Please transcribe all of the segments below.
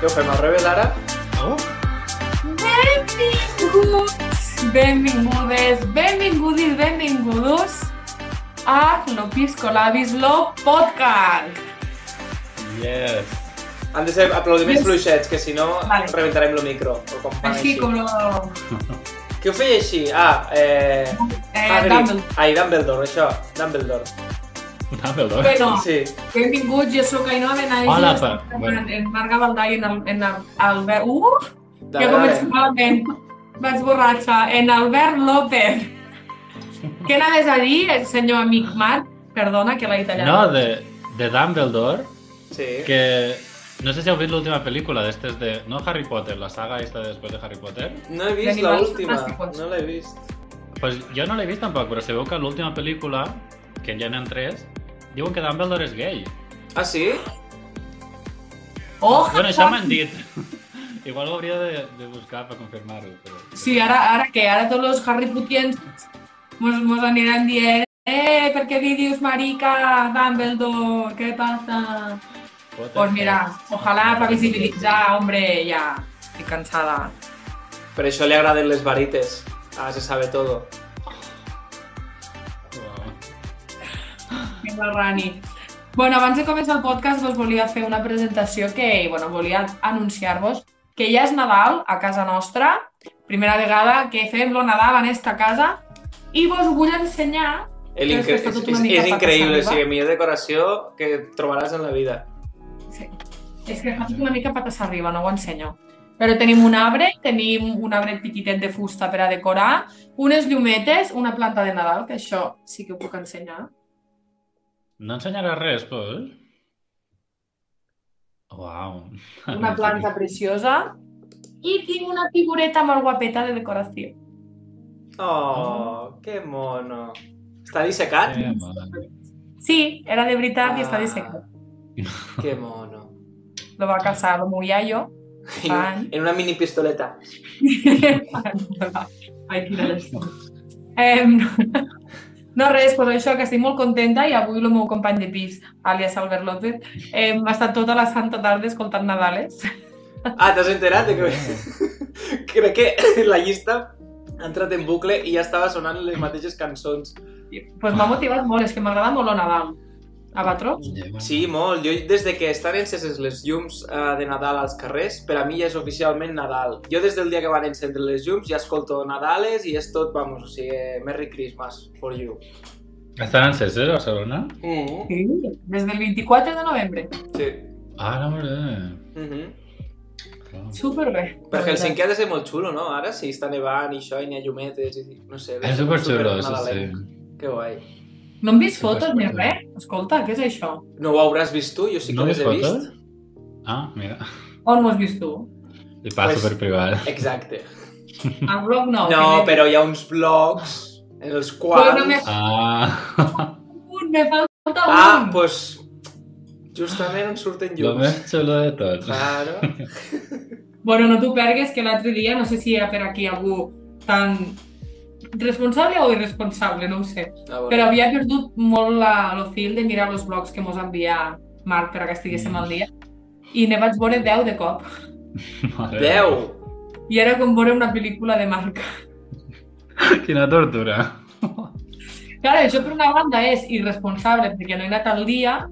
¿Qué fue? ¿Me revelara? No? Benvinguts, benvingudes, benvingudis, benvingudos a Lopisco Labislo Podcast. Yes. Han de ser aplaudiments Yes. fluixets, que si no Vale. reventarem el micro. O com Ah, fan Així així. com lo... Què ho feia així? Ah, eh... Eh, Hagrid. Dumbledore. Ai, Dumbledore, això. Dumbledore. Dumbledore. Bueno, Sí. benvinguts, jo sóc Ainoven, Aix, Hola, jo estic pa- bueno. en- en Marc Gavaldà i en, el, en el, Albert... Uh, que Dale, començo dale. malament. Vaig borratxa. En Albert López. Què anaves a dir, eh, senyor amic Marc? Perdona, que l'he tallat. No, de, de Dumbledore, Sí. que no sé si heu vist l'última pel·lícula d'estes de... No Harry Potter, la saga esta de després de Harry Potter. No he vist la D'animals última. fantàsticos. No l'he vist. Pues jo no l'he vist tampoc, però se veu que l'última pel·lícula, que ja n'han tres, diuen que Dumbledore és gay. Ah, sí? Oh, Bueno, això m'han dit. Igual ho hauria de, de buscar per confirmar-ho. Però... Sí, ara, ara que ara tots els Harry Potians mos, mos aniran dient eh, per què li dius marica, Dumbledore, què passa? Pot Pues ser. mira, eh? ojalà per visibilitzar, hombre, ja, estic cansada. Per això li agraden les varites. Ah, se sabe todo. Uau. Que marrani. Bueno, abans de començar el podcast vos volia fer una presentació que, bueno, volia anunciar-vos que ja és Nadal a casa nostra, primera vegada que fem lo Nadal en esta casa, i vos vull ensenyar El Però és que incre... està És, tot és, una mica és increïble, o patassada. sigui, millor decoració que trobaràs en la vida. Sí. És que fa tot una mica patas arriba, no ho ensenyo. Però tenim un arbre, tenim un arbre petitet de fusta per a decorar, unes llumetes, una planta de Nadal, que això sí que ho puc ensenyar. No ensenyaràs res, pues? Uau. Una planta preciosa. I tinc una figureta molt guapeta de decoració. Mm. Oh, que mono. Està dissecat? Eh, mare. Sí, era de veritat i està dissecat. Ah, Que mono. Lo va casar el meu iaio. En, Fan. en una mini pistoleta. Ai, quina lesió. Em, no res, però això, que estic molt contenta i avui el meu company de pis, alias Albert López, hem estat tota la santa tarda escoltant Nadales. Ah, t'has enterat? de Que... Crec que la llista ha entrat en bucle i ja estava sonant les mateixes cançons. Doncs pues m'ha motivat molt, és que m'agrada molt el Nadal. A Batró? Sí, molt. Jo, des de que estan enceses les llums eh, de Nadal als carrers, per a mi ja és oficialment Nadal. Jo des del dia que van encendre les llums ja escolto Nadales i és tot, vamos, o sigui, Merry Christmas for you. Estan enceses a Barcelona? Mm Sí. Des del 24 de novembre. Sí. Ah, la mare. Mm -hmm. Superbé. Per Helsinki ha de ser molt xulo, no? Ara sí, està nevant i això, i n'hi ha llumetes, i no sé. És superxulo, sí, sí. supernadalenc. Que guai. No hem vist Super, fotos ni superbé. res. Escolta, què és això? No ho hauràs vist tu, jo sí que No les veus he fotos? vist. Ah, mira. On ho has vist tu? I passa Pues- per privat. Exacte. Al blog no. No, però hi ha uns blogs en els Ah, Però quals... no m'he- Ah, Un, me falta un. Ah, doncs... Pues, justament on surten lo llums. més xulo de tot. Claro. Bueno, no t'ho pergues, que l'altre dia, no sé si era per aquí algú tan responsable o irresponsable, no ho sé, Ah, bueno. però havia perdut molt la, el fil de mirar els blogs que mos envia Marc per a que estiguéssim al dia i ne vaig veure 10 de cop Mare. Veu! i era com veure una pel·lícula de Marc. Quina tortura. Clar, això per una banda és irresponsable perquè no he anat al dia,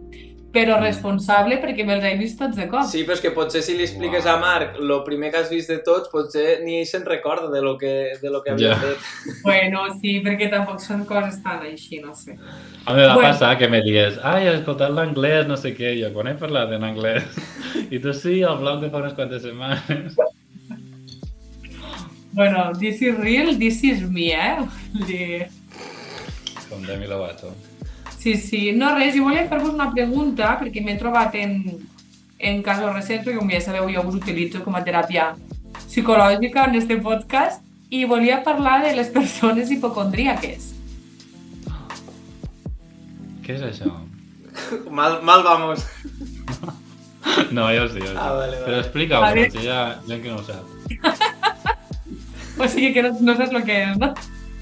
però responsable perquè me'ls he vist tots de cop. Sí, però és que potser si li expliques Uau. a Marc el primer que has vist de tots, potser ni ell se'n recorda de lo que, de lo que havia Ja. fet. Bueno, sí, perquè tampoc són coses tan així, no sé. A mi va Bueno. passar que me digués, ai, he escoltat l'anglès, no sé què, jo, quan he parlat en anglès? I tu sí, al blog de fa unes quantes setmanes. Bueno, this is real, this is me, eh? Vull dir... Com Demi Lovato. Sí, sí. No, res, jo volia fer-vos una pregunta, perquè m'he trobat en, en casos recents, perquè com ja sabeu jo us utilitzo com a teràpia psicològica en este podcast, i volia parlar de les persones hipocondríaques. Què és això? Mal, mal vamos. No, jo sí, jo sí. Ah, vale, vale. Però explica-ho, A ver. potser hi ha gent que no ho sap. O sigui que no, no saps el que és, no?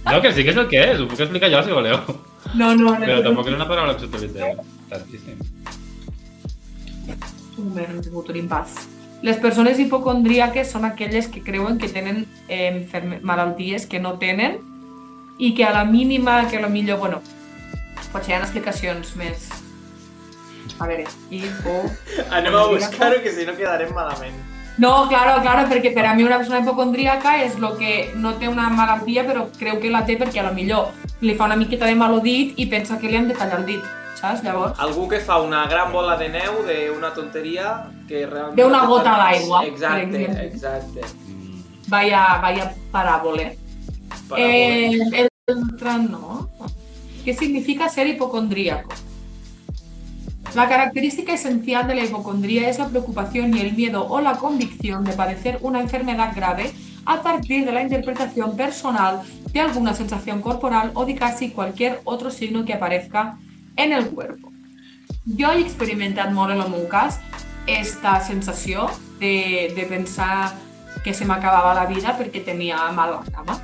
No, que sí que és el que és, ho puc explicar jo si voleu. No, no, no. Però tampoc és una paraula que s'utilitza tantíssim. Un moment, hem tingut un impàs. Les persones hipocondríaques són aquelles que creuen que tenen eh, enferme- malalties que no tenen i que a la mínima, que a lo millor, bueno, potser hi ha explicacions més... A veure, hipo... Anem a buscar-ho, que si no quedarem malament. No, claro, claro, perquè per a mi una persona hipocondríaca és el que no té una malaltia però creu que la té perquè a lo millor li fa una miqueta de mal al dit i pensa que li han de tallar el dit, saps? Llavors... Algú que fa una gran bola de neu d'una tonteria que realment... D'una gota d'aigua, per Exacte, exemple. exacte. Mm. Vaya, vaya paràbole. Paràbola. Eh, el tran no. ¿Qué significa ser hipocondríaco? La característica esencial de la hipocondría es la preocupación y el miedo o la convicción de padecer una enfermedad grave a partir de la interpretación personal de alguna sensación corporal o de casi cualquier otro signo que aparezca en el cuerpo. Jo he experimentat molt en el meu cas esta sensació de, de pensar que se m'acabava la vida perquè tenia mal la cama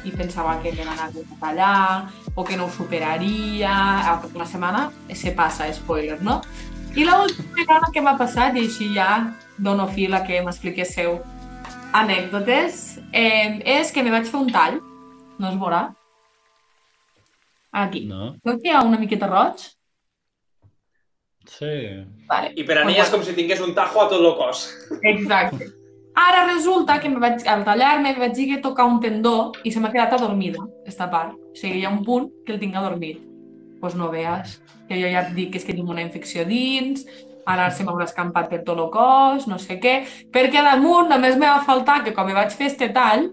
i pensava que me n'anava a tallar o que no ho superaria. Al cap d'una setmana se passa, spoiler, no? I l'última vegada que m'ha passat, i així ja dono fil a que m'expliquéssiu anècdotes, eh, és que me vaig fer un tall, no es veurà, aquí. No. No? Veu que hi ha una miqueta roig? Sí. Vale. I per a mi és com si tingués un tajo a tot el cos. Exacte. Ara resulta que me vaig, al tallar-me vaig dir que tocar un tendó i se m'ha quedat adormida, esta part. O sigui, hi ha un punt que el tinc adormit. Doncs pues no veas, que jo ja et dic que és que tinc una infecció dins, ara se m'haurà escampat per tot el cos, no sé què, perquè damunt només me va faltar que quan me vaig fer este tall,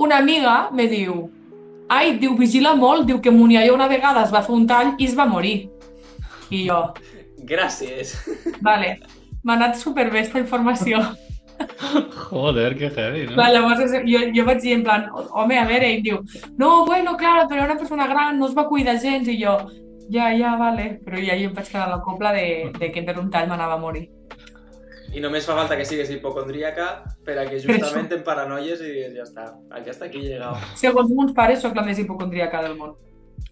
una amiga me diu ai, diu, vigila molt, diu que Muniaio una vegada es va fer un tall i es va morir. I jo, Gràcies. vale, m'ha anat superbé esta informació. Joder, qué heavy, ¿no? Clar, llavors és- jo, jo vaig dir en plan, home, a veure, i em diu, no, bueno, claro, però una persona gran no es va cuidar gens, i jo, ja, ja, vale, però ja jo em vaig quedar a la copla de, de que per un tall m'anava a morir. I només fa falta que sigues hipocondríaca per a que justament em paranoies i digues, ja està, aquesta aquí he llegat. Segons meus pares, sóc la més hipocondríaca del món,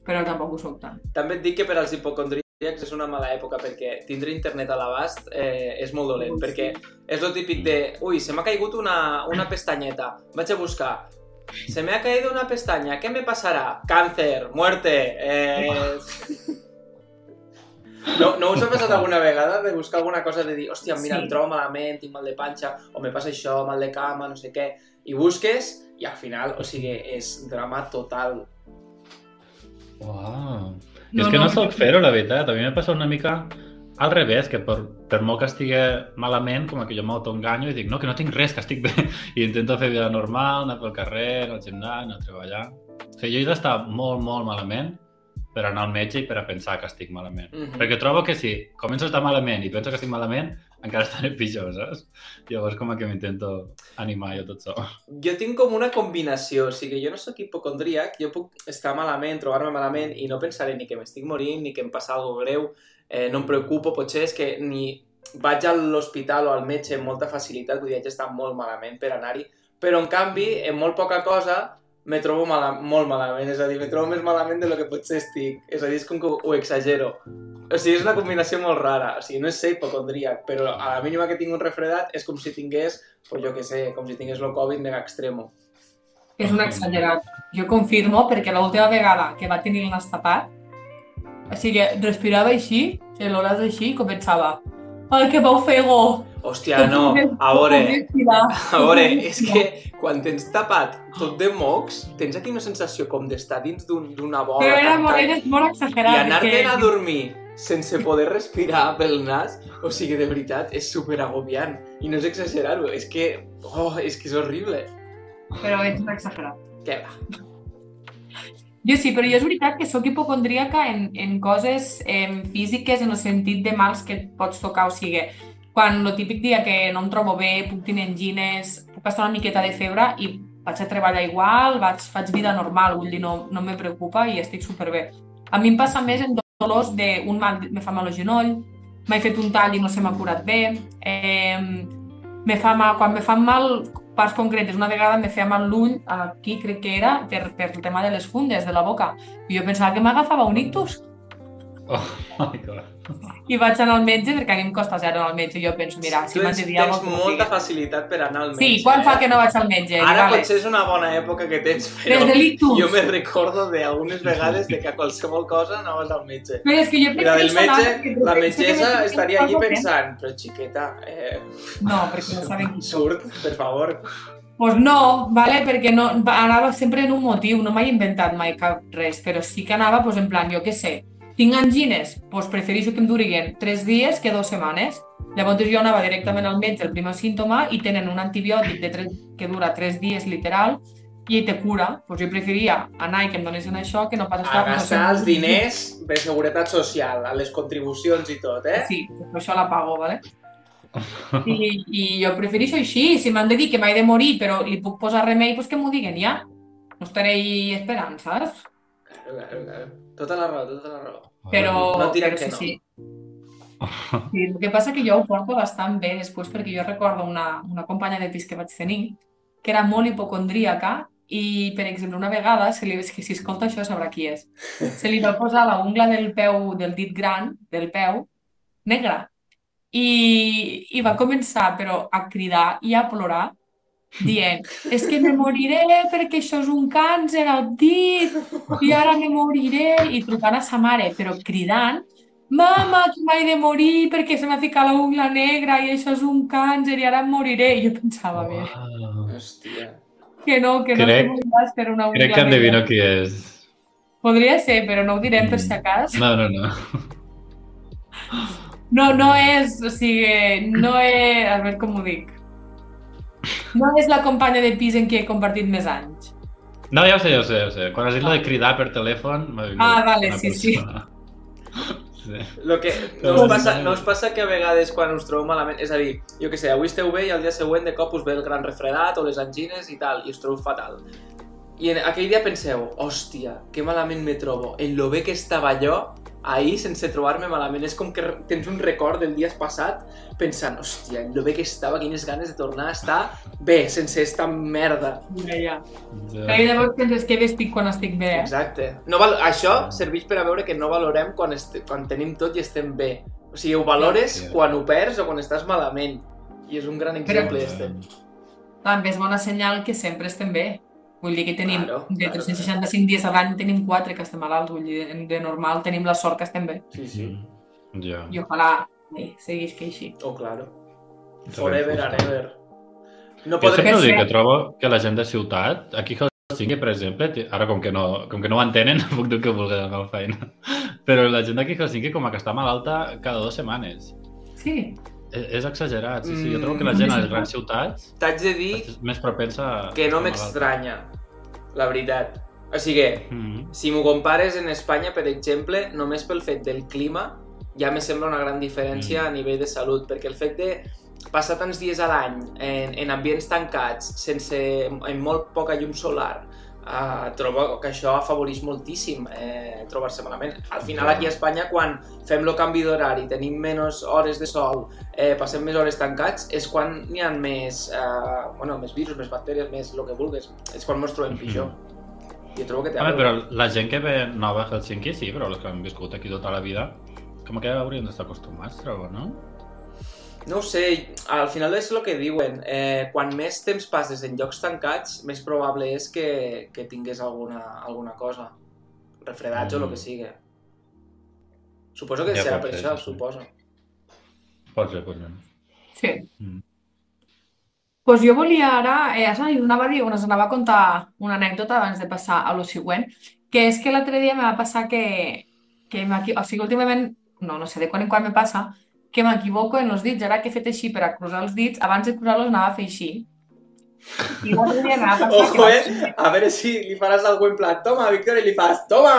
però tampoc ho sóc tant. També et dic que per als hipocondríacs és una mala època perquè tindre internet a l'abast eh, és molt dolent, Ui, sí. perquè és lo típic de, ui, se m'ha caigut una, una pestanyeta, vaig a buscar, se me ha caído una pestaña, ¿qué me pasará? Cáncer, muerte, eh... No, no us ha passat alguna vegada de buscar alguna cosa de dir, hòstia, mira, Sí. em trobo malament, tinc mal de panxa, o me passa això, mal de cama, no sé què, i busques, i al final, o sigui, és drama total. Uau. No, és que no, no sóc fer-ho, la veritat. A mi m'ha passat una mica al revés, que per, per molt que estigui malament, com que jo m'autoenganyo i dic, no, que no tinc res, que estic bé. I intento fer vida normal, anar pel carrer, anar al gimnàs, anar a treballar... O sigui, jo he d'estar molt, molt malament per anar al metge i per a pensar que estic malament. Mhm. Perquè trobo que si començo a estar malament i penso que estic malament, encara estaré pitjor, saps? Llavors com que m'intento animar jo tot sol. Jo tinc com una combinació, o sigui, jo no sóc hipocondríac, jo puc estar malament, trobar-me malament i no pensaré ni que m'estic morint, ni que em passa alguna greu, eh, no em preocupo, potser és que ni vaig a l'hospital o al metge amb molta facilitat, vull dir, haig d'estar molt malament per anar-hi, però en canvi, en molt poca cosa, me trobo mala, molt malament, és a dir, me trobo més malament de lo que potser estic, és a dir, és com que ho exagero. O sigui, és una combinació molt rara, o sigui, no és ser hipocondríac, però a la mínima que tinc un refredat és com si tingués pues jo que sé, com si tingués el Covid mega extremo. És un exagerat. Jo confirmo perquè l'última vegada que va tenir el nas tapat, o sigui, respirava així, o sigui, l'hores així, i començava, ai, que vau fer go! Hòstia, no, a veure, Respirar. a veure, és que quan tens tapat tot de mocs, tens aquí una sensació com d'estar dins d'un- d'una bola Però era molt, tancada. era molt i exagerat. anar-te'n perquè- a dormir sense poder respirar pel nas, o sigui, de veritat, és super agobiant. I no és exagerar-ho, és que... Oh, és que és horrible. Però ets un exagerat. Què va? Jo sí, però jo és veritat que sóc hipocondríaca en, en coses em, físiques, en el sentit de mals que et pots tocar, o sigui, quan el típic dia que no em trobo bé, puc tenir angines, puc estar una miqueta de febre i vaig a treballar igual, vaig, faig vida normal, vull dir, no, no me preocupa i estic superbé. A mi em passa més en dolors d'un mal, me fa mal el genoll, m'he fet un tall i no se m'ha curat bé, eh, me fa mal, quan me fan mal parts concretes, una vegada me feia mal l'ull, aquí crec que era, per, per el tema de les fundes, de la boca, i jo pensava que m'agafava un ictus. Oh my god. I vaig anar al metge perquè a mi em costa zero anar al metge. Jo penso, mira, si tu tens, m'entendia... tens molta facilitat per anar al metge. Sí, quan fa eh? que no vaig al metge? Ara vale. potser és una bona època que tens, però Des de l'ictus. jo me recordo d'algunes vegades de que a qualsevol cosa anaves al metge. Però és que I jo la del prefereixo anar... metge, la perquè penso que metgessa no sé estaria allí què em fa pensant, però xiqueta, eh, bé". No, perquè no saben qui sóc. surt, per favor. Pues no, vale? perquè no, va- anava sempre en un motiu, no m'he inventat mai cap res, però sí que anava pues, en plan, jo què sé, tinc angines, pues, prefereixo que em duriguen 3 dies que 2 setmanes. Llavors jo anava directament al metge, el primer símptoma, i tenen un antibiòtic de tres, que dura 3 dies literal, i te cura. Pues, jo preferia anar i que em donessin això que no pas A estar... gastar els diners per seguretat social, a les contribucions i tot, eh? Sí, però això la pago, vale? I, i jo prefereixo així, si m'han de dir que m'he de morir però li puc posar remei, doncs que m'ho diguen ja. No estaré ahí esperant, saps? Claro, claro, claro. Tota la raó, tota la raó. Però, No et diran però que sí, no. sí. Sí, el que passa que jo ho porto bastant bé després perquè jo recordo una, una companya de pis que vaig tenir que era molt hipocondríaca i, per exemple, una vegada, se li, és que si escolta això sabrà qui és, se li va posar la ungla del peu, del dit gran, del peu, negra. I, i va començar, però, a cridar i a plorar, dient, és que me moriré perquè això és un càncer al dit, i ara me moriré, i trucant a sa mare, però cridant, mama, que m'he de morir perquè se m'ha ficat la ungla negra i això és un càncer i ara em moriré. I jo pensava, bé, Wow. Hòstia. que no, que no Crec- te moriràs per una ungla Crec que negra. endevino qui és. Podria ser, però no ho direm Mm. per si acas. No, no, no. No, no és, o sigui, no és... A veure com ho dic. No és la companya de pis en qui he compartit més anys. No, ja ho sé, ja ho sé, ja ho sé. Quan has dit la de cridar per telèfon, m'ha vingut Ah, vale, una sí, sí. persona. sí. Lo que, no, us Doncs- passa, no us passa que a vegades quan us trobeu malament, és a dir, jo que sé, avui esteu bé i al dia següent de cop us ve el gran refredat o les angines i tal, i us trobeu fatal. I en aquell dia penseu, hòstia, que malament me trobo, en lo bé que estava jo ahir sense trobar-me malament. És com que re- tens un record del dia passat pensant, hòstia, en lo bé que estava, quines ganes de tornar a estar bé, sense esta merda. Ja, ja. Ja. Perquè llavors penses que bé estic quan estic bé. eh? Exacte. No val... Això serveix per a veure que no valorem quan, est... quan tenim tot i estem bé. O sigui, ho valores Sí. quan ho perds o quan estàs malament. I és un gran exemple, Però- este. També és bon senyal que sempre estem bé. Vull dir que tenim Claro, de claro, 365 dies a l'any tenim 4 que estem malalts, vull dir, de normal tenim la sort que estem bé. Sí, sí. Sí. Ja. I ojalà bé, seguís que així. O Oh, claro. Sabem Forever fusta. and ever. No Jo sempre podré... ho ser. dic, que trobo que la gent de ciutat, aquí a Helsinki, per exemple, té- ara com que no, com que no ho entenen, puc dir el que vulgui de la meva feina, però la gent d'aquí a Helsinki com a que està malalta cada dues setmanes. Sí, És, és exagerat, sí, sí. Jo Mm. trobo que la gent a les grans ciutats T'haig de Mm, dir és més propensa a que no estar malalta. m'estranya, la veritat. O sigui, Mm. si m'ho compares en Espanya, per exemple, només pel fet del clima, ja me sembla una gran diferència Mm. a nivell de salut, perquè el fet de passar tants dies a l'any en, en ambients tancats, sense, en molt poca llum solar, eh, trobo que això afavorís moltíssim eh, trobar-se malament. Al final Ja. aquí a Espanya, quan fem el canvi d'horari, tenim menys hores de sol, eh, passem més hores tancats, és quan n'hi ha més, eh, bueno, més virus, més bacteris, més el que vulguis. És quan ens trobem Mhm. pitjor. Jo trobo que té a Home, veure. però la gent que ve nova a Helsinki, sí, però els que han viscut aquí tota la vida, com que haurien d'estar acostumats, trobo, no? No ho sé, al final és el que diuen. Eh, quan més temps passes en llocs tancats, més probable és que, que tingués alguna, alguna cosa. Refredats mm. o el Mm. que sigui. Suposo que Ja ja serà pot per ser, això, sí, sí. suposo. Pot ser, pot ser. sí. Mm. Pues jo volia ara, eh, us anava a dir, us anava a contar una anècdota abans de passar a lo següent, que és que l'altre dia em va passar que, que m'equi- o sigui, últimament, no, no sé de quan en quan me passa, que m'equivoco en els dits, ara que he fet així per a cruzar els dits, abans de cruzar-los anava a fer així. I l'altre dia anava a pensar que Ojo, vaig- eh? A veure si li faràs algú en plan, toma, Víctor, i li fas, toma!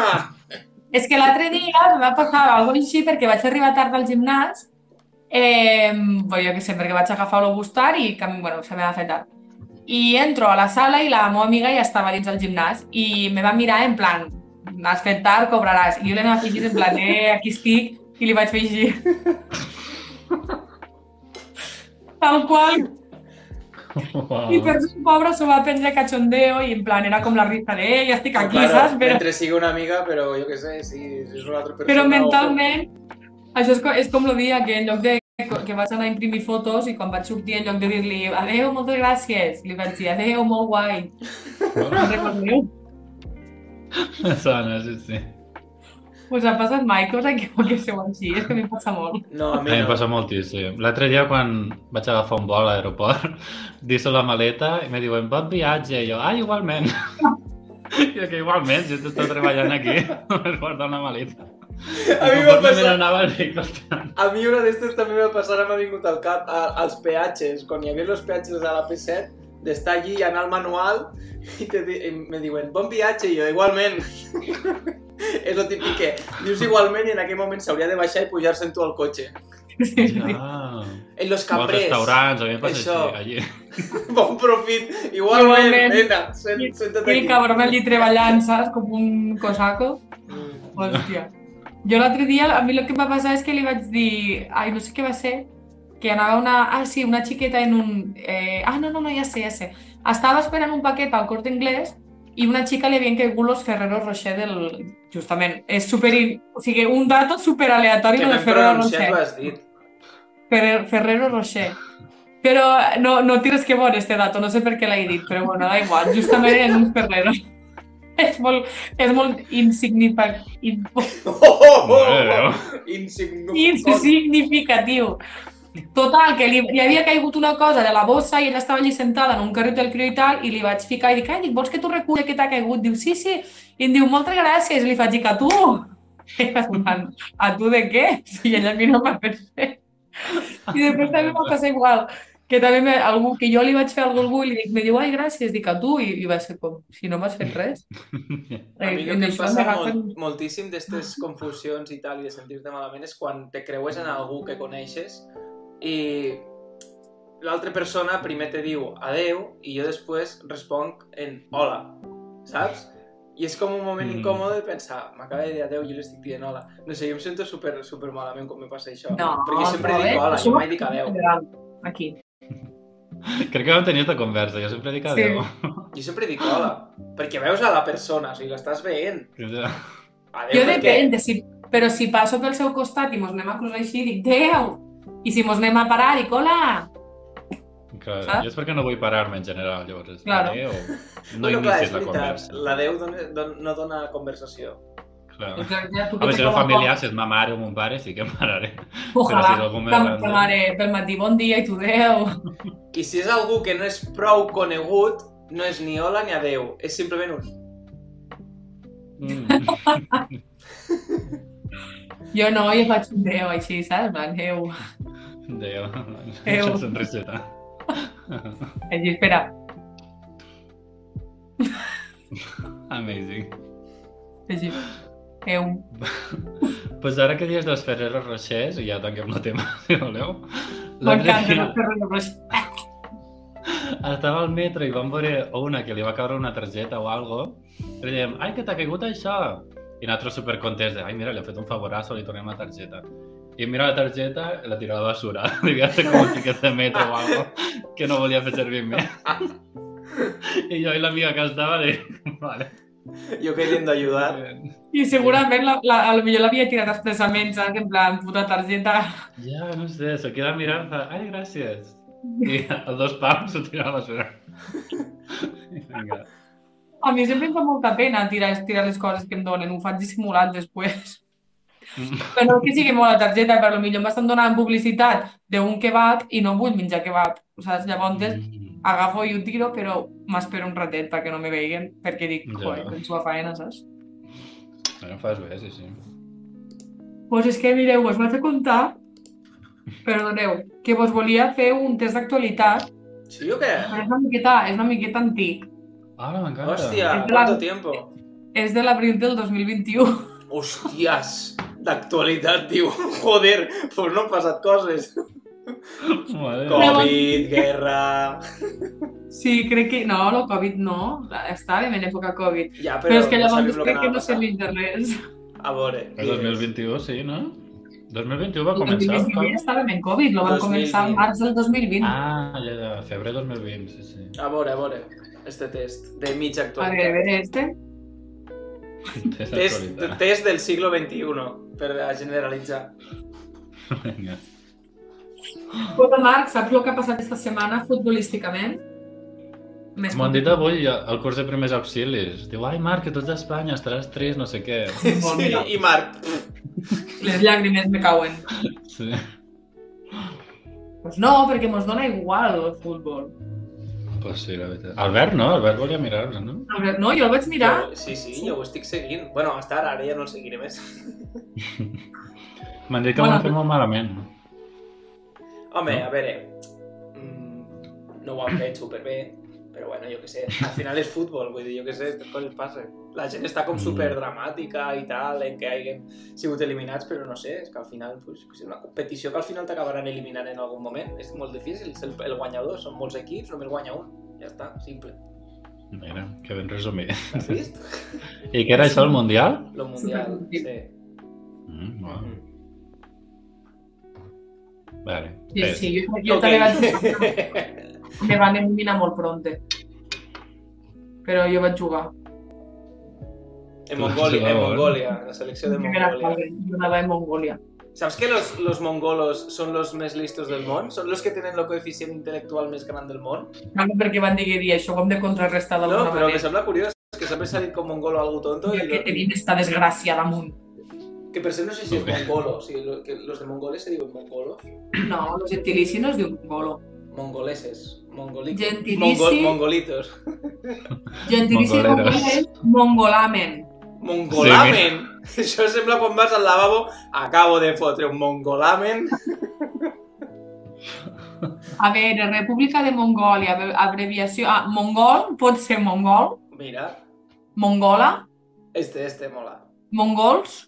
És que l'altre dia em va passar alguna cosa així perquè vaig arribar tard al gimnàs, eh, bueno, jo que sé, perquè vaig agafar l'autobús tard i que, bueno, se m'ha fet tard. I entro a la sala i la meva amiga ja estava dins del gimnàs i me va mirar en plan, has fet tard, cobraràs. I jo l'anava a fer així en plan, eh, aquí estic, i li vaig fer així. Tal qual. I per un pobre s'ho va prendre cachondeo i en plan era com la risa de «Ei, estic aquí, claro, saps? Però, Mentre sigui una amiga, però jo què sé, si és una altra persona... però o- mentalment, això és, co- és com el dia que en lloc de que vaig anar a imprimir fotos i quan vaig sortir en lloc de dir-li adeu, moltes gràcies, li vaig dir adeu, molt guai. No recordeu? Sona, sí, sí. Us ha passat mai cosa que ho haguéssiu així? És que a mi em passa molt. No, a A mi mi em no. passa moltíssim. L'altre dia, quan vaig agafar un vol a l'aeroport, disso la maleta i me diuen, bon viatge. I jo, ah, igualment. I que igualment, si estàs treballant aquí, vas guardar una maleta. A mi m'ha Conforme me passat... n'anava, dic, "Ostres". A mi una d'estes també m'ha passat, ara m'ha vingut al cap, a, als peatges, quan hi havia els peatges a la P7, d'estar allí i anar al manual i, te, di- i me diuen, bon viatge, i jo, igualment. és el típic que dius igualment i en aquell moment s'hauria de baixar i pujar-se amb tu al cotxe. Sí, sí. Ah, En los molts cambrers, restaurants, a mi em passa Això. així, allí. bon profit, igualment, Igualment. nena, sent, senta't I aquí. el cabron allí treballant, saps? Com un cosaco. Mm. Hòstia. Jo l'altre dia, a mi el que em va passar és que li vaig dir... Ai, no sé què va ser. Que anava una... Ah, sí, una xiqueta en un... Eh... Ah, no, no, no, ja sé, ja sé. Estava esperant un paquet al Corte Inglés i una xica li havien caigut los Ferrero Rocher del... Justament, és super... O sigui, un dato super aleatori Que del ben Ferrero pronunciat Rocher. ho has dit. Ferrer- Ferrero Rocher. Però no, no tires que veure este dato, no sé per què l'he dit, però bueno, da igual, justament eren uns Ferrero. És molt, és molt insignific... in- Oh, oh, oh, Mare de Déu. oh. Insignificant. insignificatiu. Total, que li, li havia caigut una cosa de la bossa i ella estava allí sentada en un carret del crió i tal, i li vaig ficar i dic, ai, dic, vols que tu reculli que t'ha caigut? Diu, sí, sí. I em diu, moltes gràcies. I li faig, dic, a tu? I em fan, a tu de què? Si ella a mi no m'ha fet res. I després també m'ha passat igual, que també me, algú, que jo li vaig fer algo a algú i li dic, me diu, ai, gràcies, dic, a tu? I, i va ser com, si no m'has fet res. A mi Eh, el que em això Ah. passa m'agafen- molt, moltíssim d'aquestes confusions i tal i de sentir-te malament és quan te creues en algú que coneixes i l'altra persona primer te diu adeu i jo després responc en hola, saps? I és com un moment Mm. incòmode de pensar, m'acaba de dir adeu, jo li estic dient hola. No sé, jo em sento super, super malament quan me passa això. No, perquè sempre però bé, dic hola, això jo ho mai dic adeu. Aquí. Crec que vam tenir aquesta conversa, jo sempre dic adeu. Jo sempre dic hola, perquè veus a la persona, o sigui, l'estàs veient. Adeu, Jo perquè- depèn, de si, però si passo pel seu costat i mos anem a cruzar així, dic, Déu! I si mos anem a parar, dic, hola! Clar, Saps? jo és perquè no vull parar-me en general, llavors. és Claro. adeu. No Bueno, clar, és inicies la veritat, conversa. L'adeu dona- don- no dona conversació. Clar. Doncs ja tu A que veure, te si és comes familiar, si és ma mare o mon pare, sí que pararé. Però poc, si és Ojalà, algú més que gran... ta mare pel matí, bon dia, i tu, Déu! I si és algú que no és prou conegut, no és ni hola ni adeu, és simplement un... Mm. Jo no, jo faig un Déu així, saps? En Déu. Déu. Déu. Deixa Sonriseta. Així, espera. Amazing. Així. Déu. Doncs pues ara que dius dels Ferrero Rochers, i ja tanquem el tema, si voleu. L'altre M'encanta dia no fer res. estava al metro i vam veure una que li va caure una targeta o algo, i li dèiem, ai, que t'ha caigut això! I nosaltres supercontents, de, ai, mira, li ha fet un favorazo, li tornem la targeta. I mira la targeta, la tira a la basura. Li havia fet com un tiquet de metro o algo que no volia fer servir més. I jo i l'amiga que estava, li dic, vale. Jo queriendo ayudar. I segurament la, la, a lo millor l'havia tirat expressament, saps? En plan, puta targeta. Ja, no sé, se queda mirant, fa, ai, gràcies. I a dos pams s'ho tira a la basura. Vinga. A mi sempre em fa molta pena tirar, tirar les coses que em donen, ho faig dissimulat després. Mm. Però no que sigui molt la targeta, però potser em estan donant publicitat d'un kebab i no vull menjar kebab. Saps? Llavors Mm. agafo i ho tiro, però m'espero un ratet perquè no me veien, perquè dic, Ja. coi, penso a faena, saps? Bueno, fas bé, sí, sí. Pues és que, mireu, us vaig a contar, perdoneu, que vos volia fer un test d'actualitat, Sí o què? però és una miqueta, és una miqueta antic. Ara m'encanta. Hòstia, En plan- quanto tiempo. És de l'abril del 2021. Hòsties, d'actualitat, diu. Joder, pues no han passat coses. Mare. Com? Covid, guerra... Sí, crec que... No, el Covid no. Estàvem en època Covid. Ja, Però, però, és que no llavors sabíem lo crec que anava a no passar. serveix de res. A veure, El 2021, sí, no? 2021 va El començar. 2020 fa- ja estàvem en Covid, lo van començar al 2020. març del 2020. Ah, ja, ja, febrer 2020, sí, sí. A veure, a veure, este test de mitja a ver, a actualitat. ver este. Test Test, d'actualitat. test del siglo XXI, per a generalitzar. Vinga. Bueno, Marc, saps el que ha passat aquesta setmana futbolísticament? Més M'ho han dit avui al curs de primers auxilis. Diu, ai, Marc, que tu ets d'Espanya, estaràs trist, no sé què. Molt Sí, bé. I Marc, Les llàgrimes me cauen. Sí. Pues no, perquè mos dona igual el futbol. Pues sí, la veritat. Albert, no? Albert volia mirar-la, no? A veure, No, jo el vaig mirar. Jo, sí, sí, jo ho estic seguint. Bueno, hasta ara, ara ja no el seguiré més. M'han dit que Bueno, m'han fet molt malament. Home, No. a veure, mm, no ho han fet superbé, però bueno, jo què sé, al final és futbol, vull dir, jo què sé, aquestes coses passen. La gent està com Mm. superdramàtica i tal, en què hagin sigut eliminats, però no sé, és que al final, pues, és una competició que al final t'acabaran eliminant en algun moment. És molt difícil, és el, el guanyador, són molts equips, només guanya un. Ja està, simple. Mira, que ben resumit. Has vist? I què era això, el Mundial? Lo mundial, Supermotiu. sí. Mm, bueno. Mm. Vale. Mm. Sí, Test. sí, jo, jo també vaig jugar. Me van eliminar molt pronte. Però jo vaig jugar. En Mongòlia, en Mongòlia, en la selecció de Primera Mongòlia. fase, jo anava a Mongòlia. ¿Sabes que los, los mongolos son los más listos del mundo? ¿Son los que tienen el coeficiente intelectual más grande del mundo? Claro, perquè van dir que dir això, com de contrarrestar d'alguna No, pero me manera. sembla curioso es que siempre salir con mongolo algo tonto Perquè y... tenim esta desgràcia damunt. Que per se no sé si es Molt bé. mongolo, si lo- que los de mongoles se diuen mongolos. No, el gentilici no es diu bolo. Mongoleses, mongolitos. Gentilici. mongolitos. Gentilici en Mongoleros. mongol és mongolamen. Mongolamen! Això sembla quan vas al lavabo, acabo de fotre un mongolamen. A veure, República de Mongòlia, abre- abreviació... Ah, mongol, pot ser mongol, Mira, mongola, este, este, mola. mongols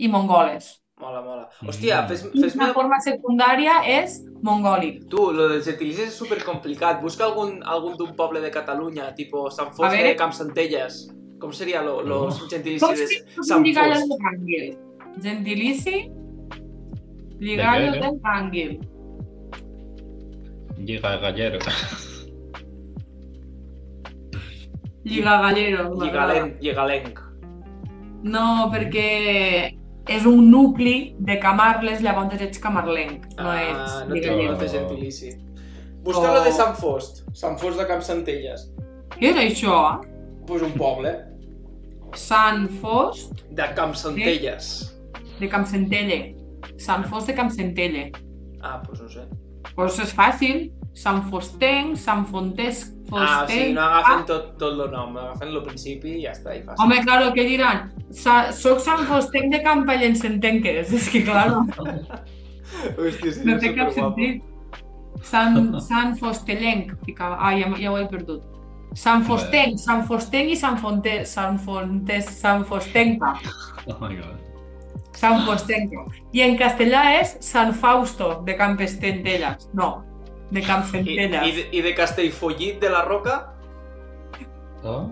i mongoles. Mola, mola. Hòstia, Mm. fes, I fes la forma secundària és mongòlic. Tu, lo dels gentilicis és supercomplicat. Busca algun, algun d'un poble de Catalunya, tipo Sant A Fos veure. de Campsentelles. Com seria lo, los Com gentilicis si de fos Sant lligalles Fost? de Rangel. Gentilici, lligalles De què, de de Rangel. Lliga Gallero. Lligagallero. Lligalenc, lligalenc. No, perquè és un nucli de Camarles, llavors ets camarlenc, no Oh. ets Ah, no té, lligaller. no té gentilici. Busca lo de Sant Fost. Sant Fost de Campsentelles. Què era això? Pues un poble Sant Fost de Campsentelles. de Campsentelle. Sant Fost de Campsentelle. Ah, pues no sé. Pues és fàcil. Sant Fostenc, Sant Fontesc, Fostenc... Ah, o sigui, no agafen tot, tot el nom, agafen el principi i ja està, i fàcil. Ah, Home, claro, què diran? Sa, soc Sant Fostenc de Campallens Entenques. És que, claro, Hòstia, sí, no té cap superguapo. sentit. Sant, Sant Fostellenc, ficava. Ah, ja, ja ho he perdut. Sant Fostenc, Sant Fostenc i Sant Fonte, Sant Fontes, Sant Fostenca, Oh my god. Sant Fostenca. I en castellà és Sant Fausto, de Campestentelles. No, de I, i, Campestentelles. de, I de Castellfollit de la Roca? Oh?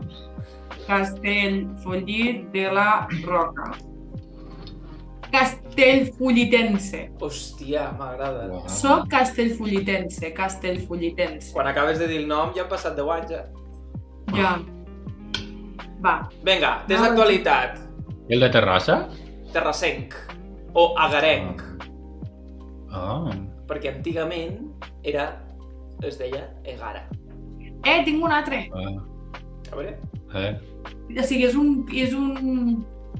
Castellfollit de la Roca. Castellfollitense. Hòstia, m'agrada. Wow. Soc castellfollitense, castellfollitense. Quan acabes de dir el nom ja han passat 10 anys, eh? ja. Ja. Va, Vinga, test No, d'actualitat. I el de Terrassa? Terrassenc. O agarenc. Ah. Oh. Perquè antigament era... es deia Egara. Eh, tinc un altre. Ah, A veure? eh. O sigui, és un, és un,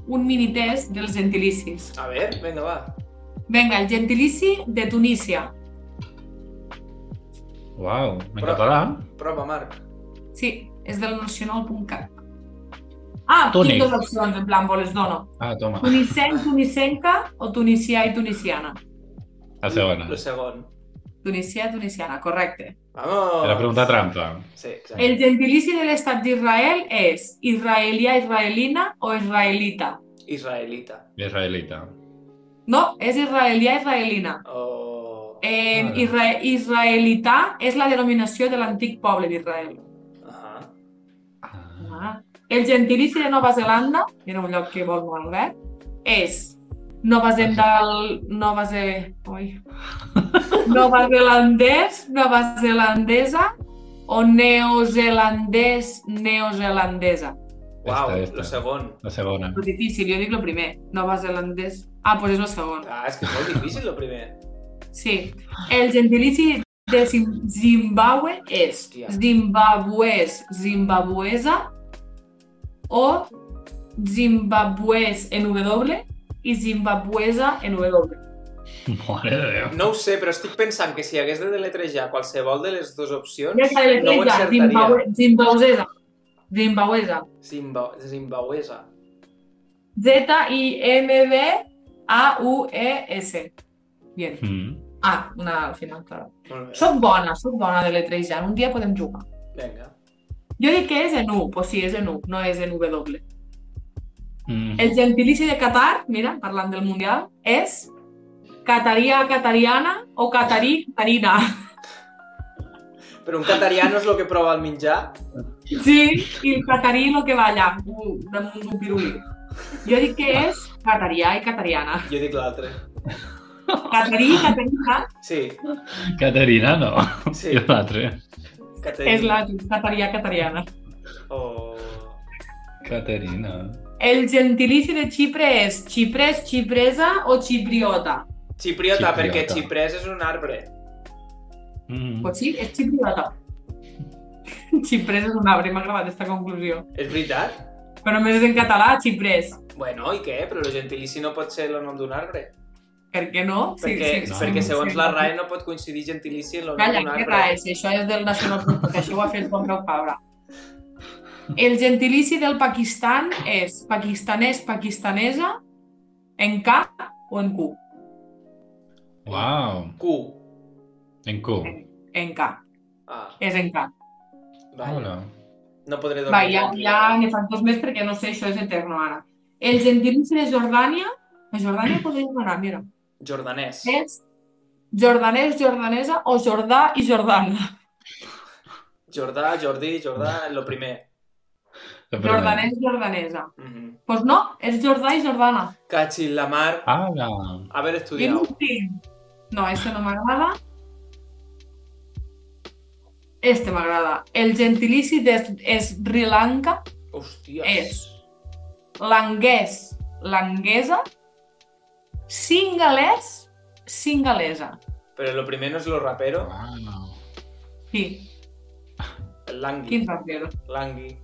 un mini test dels gentilicis. A veure, vinga, va. Vinga, el gentilici de Tunísia. Uau, en Però- català? Prova, Marc. Sí, és del nacional.cat. Ah, Túnez. tinc dues opcions, en plan, voles dono. Ah, toma, Tunisenc, tunisenca o tunisià i tunisiana? la segona. El segon. Tunisià, tunisiana, correcte. Vamos! Era pregunta trampa. Sí, exacte. El gentilici de l'estat d'Israel és israelià, israelina o israelita? Israelita. Israelita. No, és israelià, israelina. O... Eh, Vale. isra israelità és la denominació de l'antic poble d'Israel. Ahà. Ah. Ah. El gentilici de Nova Zelanda, que era un lloc que vol molt bé, eh, és no del... Nova Ze... Ui. Nova Zelandès, Nova Zelandesa o neozelandès, neozelandesa. Uau, Esta, esta. el segon. La segona. És difícil, jo dic el primer. Nova Zelandès... Ah, doncs és el segon. Ah, és que és molt difícil, el primer. Sí. El gentilici de Zim- Zimbabue és Hòstia. Zimbabwès, Zimbabuesa o Zimbabwès en W i Zimbabuesa en W. Mare de Déu. No ho sé, però estic pensant que si hagués de deletrejar qualsevol de les dues opcions, Ja s'ha de no ho encertaria. letrejar, Zimbabue- Zimbabwesa, Zimbabwesa. Zimba... Zimbabwesa. Z-I-M-B-A-U-E-S. Bien. Mm. Ah, una al final, clar. Molt bé. Soc bona, soc bona de letrejant. Un dia podem jugar. Vinga. Jo dic que és en U, pues sí, és en U, no és en W. Mm. El gentilici de Qatar, mira, parlant del Mundial, és Qataria Qatariana o Qatarí Qatarina. Però un catarià no és el que prova el menjar? Sí, i el Qatarí lo que balla, u- damunt d'un pirulí. Jo dic que és Qatarià i Qatariana. Jo dic l'altre. Qatarí Qatarina Sí, Caterina, no. sí. I l'altre. Caterina. és la Qataria Qatariana. O... Caterina. El gentilici de Xipre és Xiprès, Xipresa o Xipriota. Xipriota, Xipriota. perquè xiprès és un arbre. Mm. Pues sí, és Xipriota. Xiprés és un arbre, m'ha agradat aquesta conclusió. És veritat? Però només és en català, xiprès. Bueno, i què? Però el gentilici no pot ser el nom d'un arbre. Per què no? perquè, sí. perquè No. segons la RAE no pot coincidir gentilici en el nom Calla, d'un què arbre. raes? Això és del National Podcast, això ho ha fet Pompeu Fabra. El gentilici del Pakistan és pakistanès, pakistanesa, en K o en Q? Uau. Q. En Q. En K, Ah, és en K. vale. Hola. No podré dormir. Va, ja, tranquil·la. ja n'he fet dos més perquè no sé, això és eterno ara. El gentilici de Jordània, a Jordània podria anar, mira, Jordanès. és jordanès, jordanesa o jordà i jordana. Jordà, Jordi, Jordà, el primer. La primera. Jordanès, jordanesa. Mhm. Doncs no, és Jordà i Jordana. Cachi, la mar, Ala. haver I estudiat. l'últim. No, este no m'agrada. Este m'agrada. El gentilici de Sri Lanka, Hòstia. És. l'anguès, l'anguesa, singalès, singalesa. Però el primer no és lo rapero, Uau. Sí, el langui. quin rapero. Langui.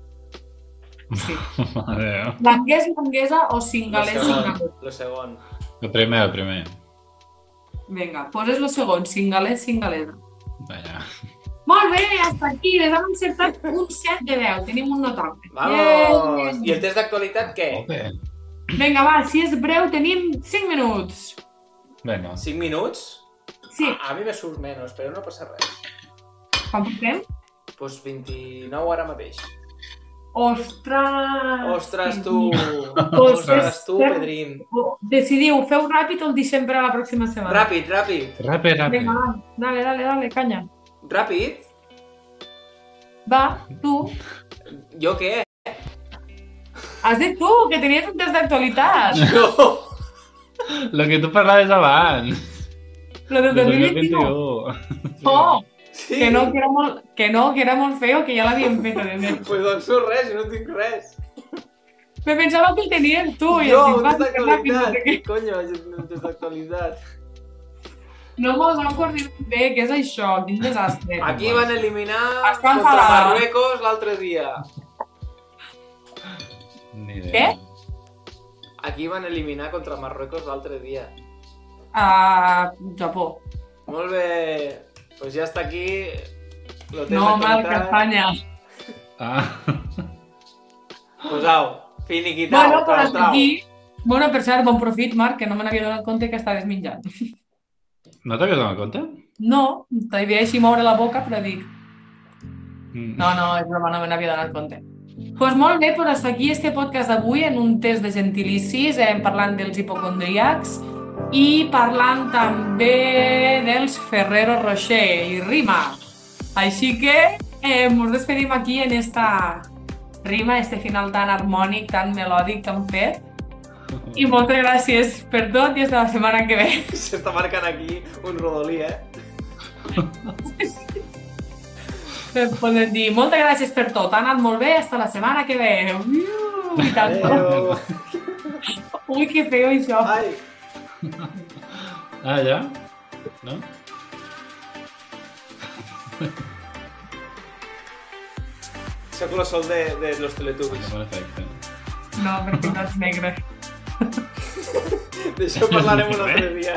Sí. Mare de Déu. L'anguès, l'anguesa o Lo singalès, singalesa. segon. Lo segon. El primer, el primer. Vinga, poses lo segon, singalès, singalesa. Vaja. Molt bé, hasta aquí. Les hem encertat un 7 de 10. Tenim un notable. Vamos! Yay! I el test d'actualitat què? Ope. Vinga, va, si és breu, tenim 5 minuts. Bueno, 5 minuts? Sí, A, a mi me surt menys, però no passa res. quan portem? Doncs pues 29 ara mateix. Ostres! Ostres, tu! Ostres, Ostres, tu, fer- Pedrín. Decidiu, feu ràpid o el deixem per a la pròxima setmana? Ràpid, ràpid. ràpid, ràpid. Vinga, va, dale, dale, dale, canya. Ràpid? Va, tu. Jo què? Has dit tu, que tenies un test d'actualitat. Jo! Lo que tu parlaves abans. Lo del 2021. Oh, Sí. que no, que era molt, que no, que era molt feo, que ja l'havíem fet. a més. Pues doncs no res, no tinc res. Me pensava que el tenies tu. i jo, has dit, un va, test que ràpid, no d'actualitat. sé què. Conyo, un test d'actualitat. No mos han coordinat bé, què és això? Quin desastre. Aquí van eliminar Està contra enfadada. Marruecos l'altre dia. Ni idea. Què? Aquí van eliminar contra Marruecos l'altre dia. A Ah, Japó. Molt bé. Pues ja està aquí. Lo tens No, mal, que actualitat. Espanya. Ah, Pues au, finiquitau. Bueno, però trau, hasta trau. aquí... Bueno, per cert, bon profit, Marc, que no me n'havia donat compte que estaves menjant. no t'havies donat compte? No, t'havia així moure la boca, però dic, Mm. no, no, és broma, no me n'havia donat compte. Doncs pues molt bé, però hasta aquí este podcast d'avui en un test de gentilicis, eh, parlant dels hipocondriacs i parlant també dels Ferrero Rocher i Rima. Així que eh, ens despedim aquí en esta rima, este final tan harmònic, tan melòdic que hem fet. I moltes gràcies per tot i fins la setmana que ve. S'està marcant aquí un rodolí, eh? Podem dir moltes gràcies per tot, ha anat molt bé, fins la setmana que ve. Iu, I tal. Adéu! Ui, que feo això. Ai! Ah, ja? No? Soc lo sol de, de los teletubbies. Que bon efecte. No, perquè no ets negre. D'això parlarem un altre dia.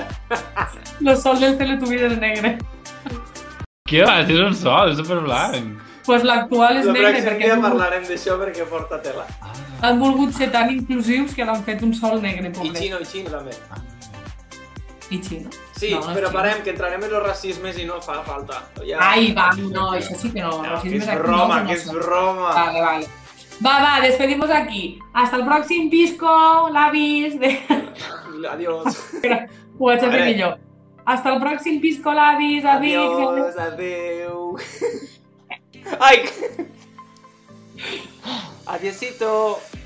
El sol del teletubbies és negre. Què va? És un sol, és superblanc. Doncs pues l'actual és El negre pròxim perquè dia han volgut, parlarem d'això perquè porta tela. Ah, han volgut ser tan inclusius que l'han fet un sol negre, I pobret. xino, i xino també. I xino. Sí, No, no és però xino. parem, que entrarem en los racismes i no fa falta. Ja. Ai, va, no, això sí que no. no, que racisme és aquí no, Ah. broma, no que és són. broma. Vale, vale. Va, va, despedimos aquí. Hasta el pròxim pisco, l'avis... De... Adiós. Ho vaig a fer Vale. millor. Hasta el pròxim pisco, l'avis, amics... Adiós, adeu. Ai! Adiosito.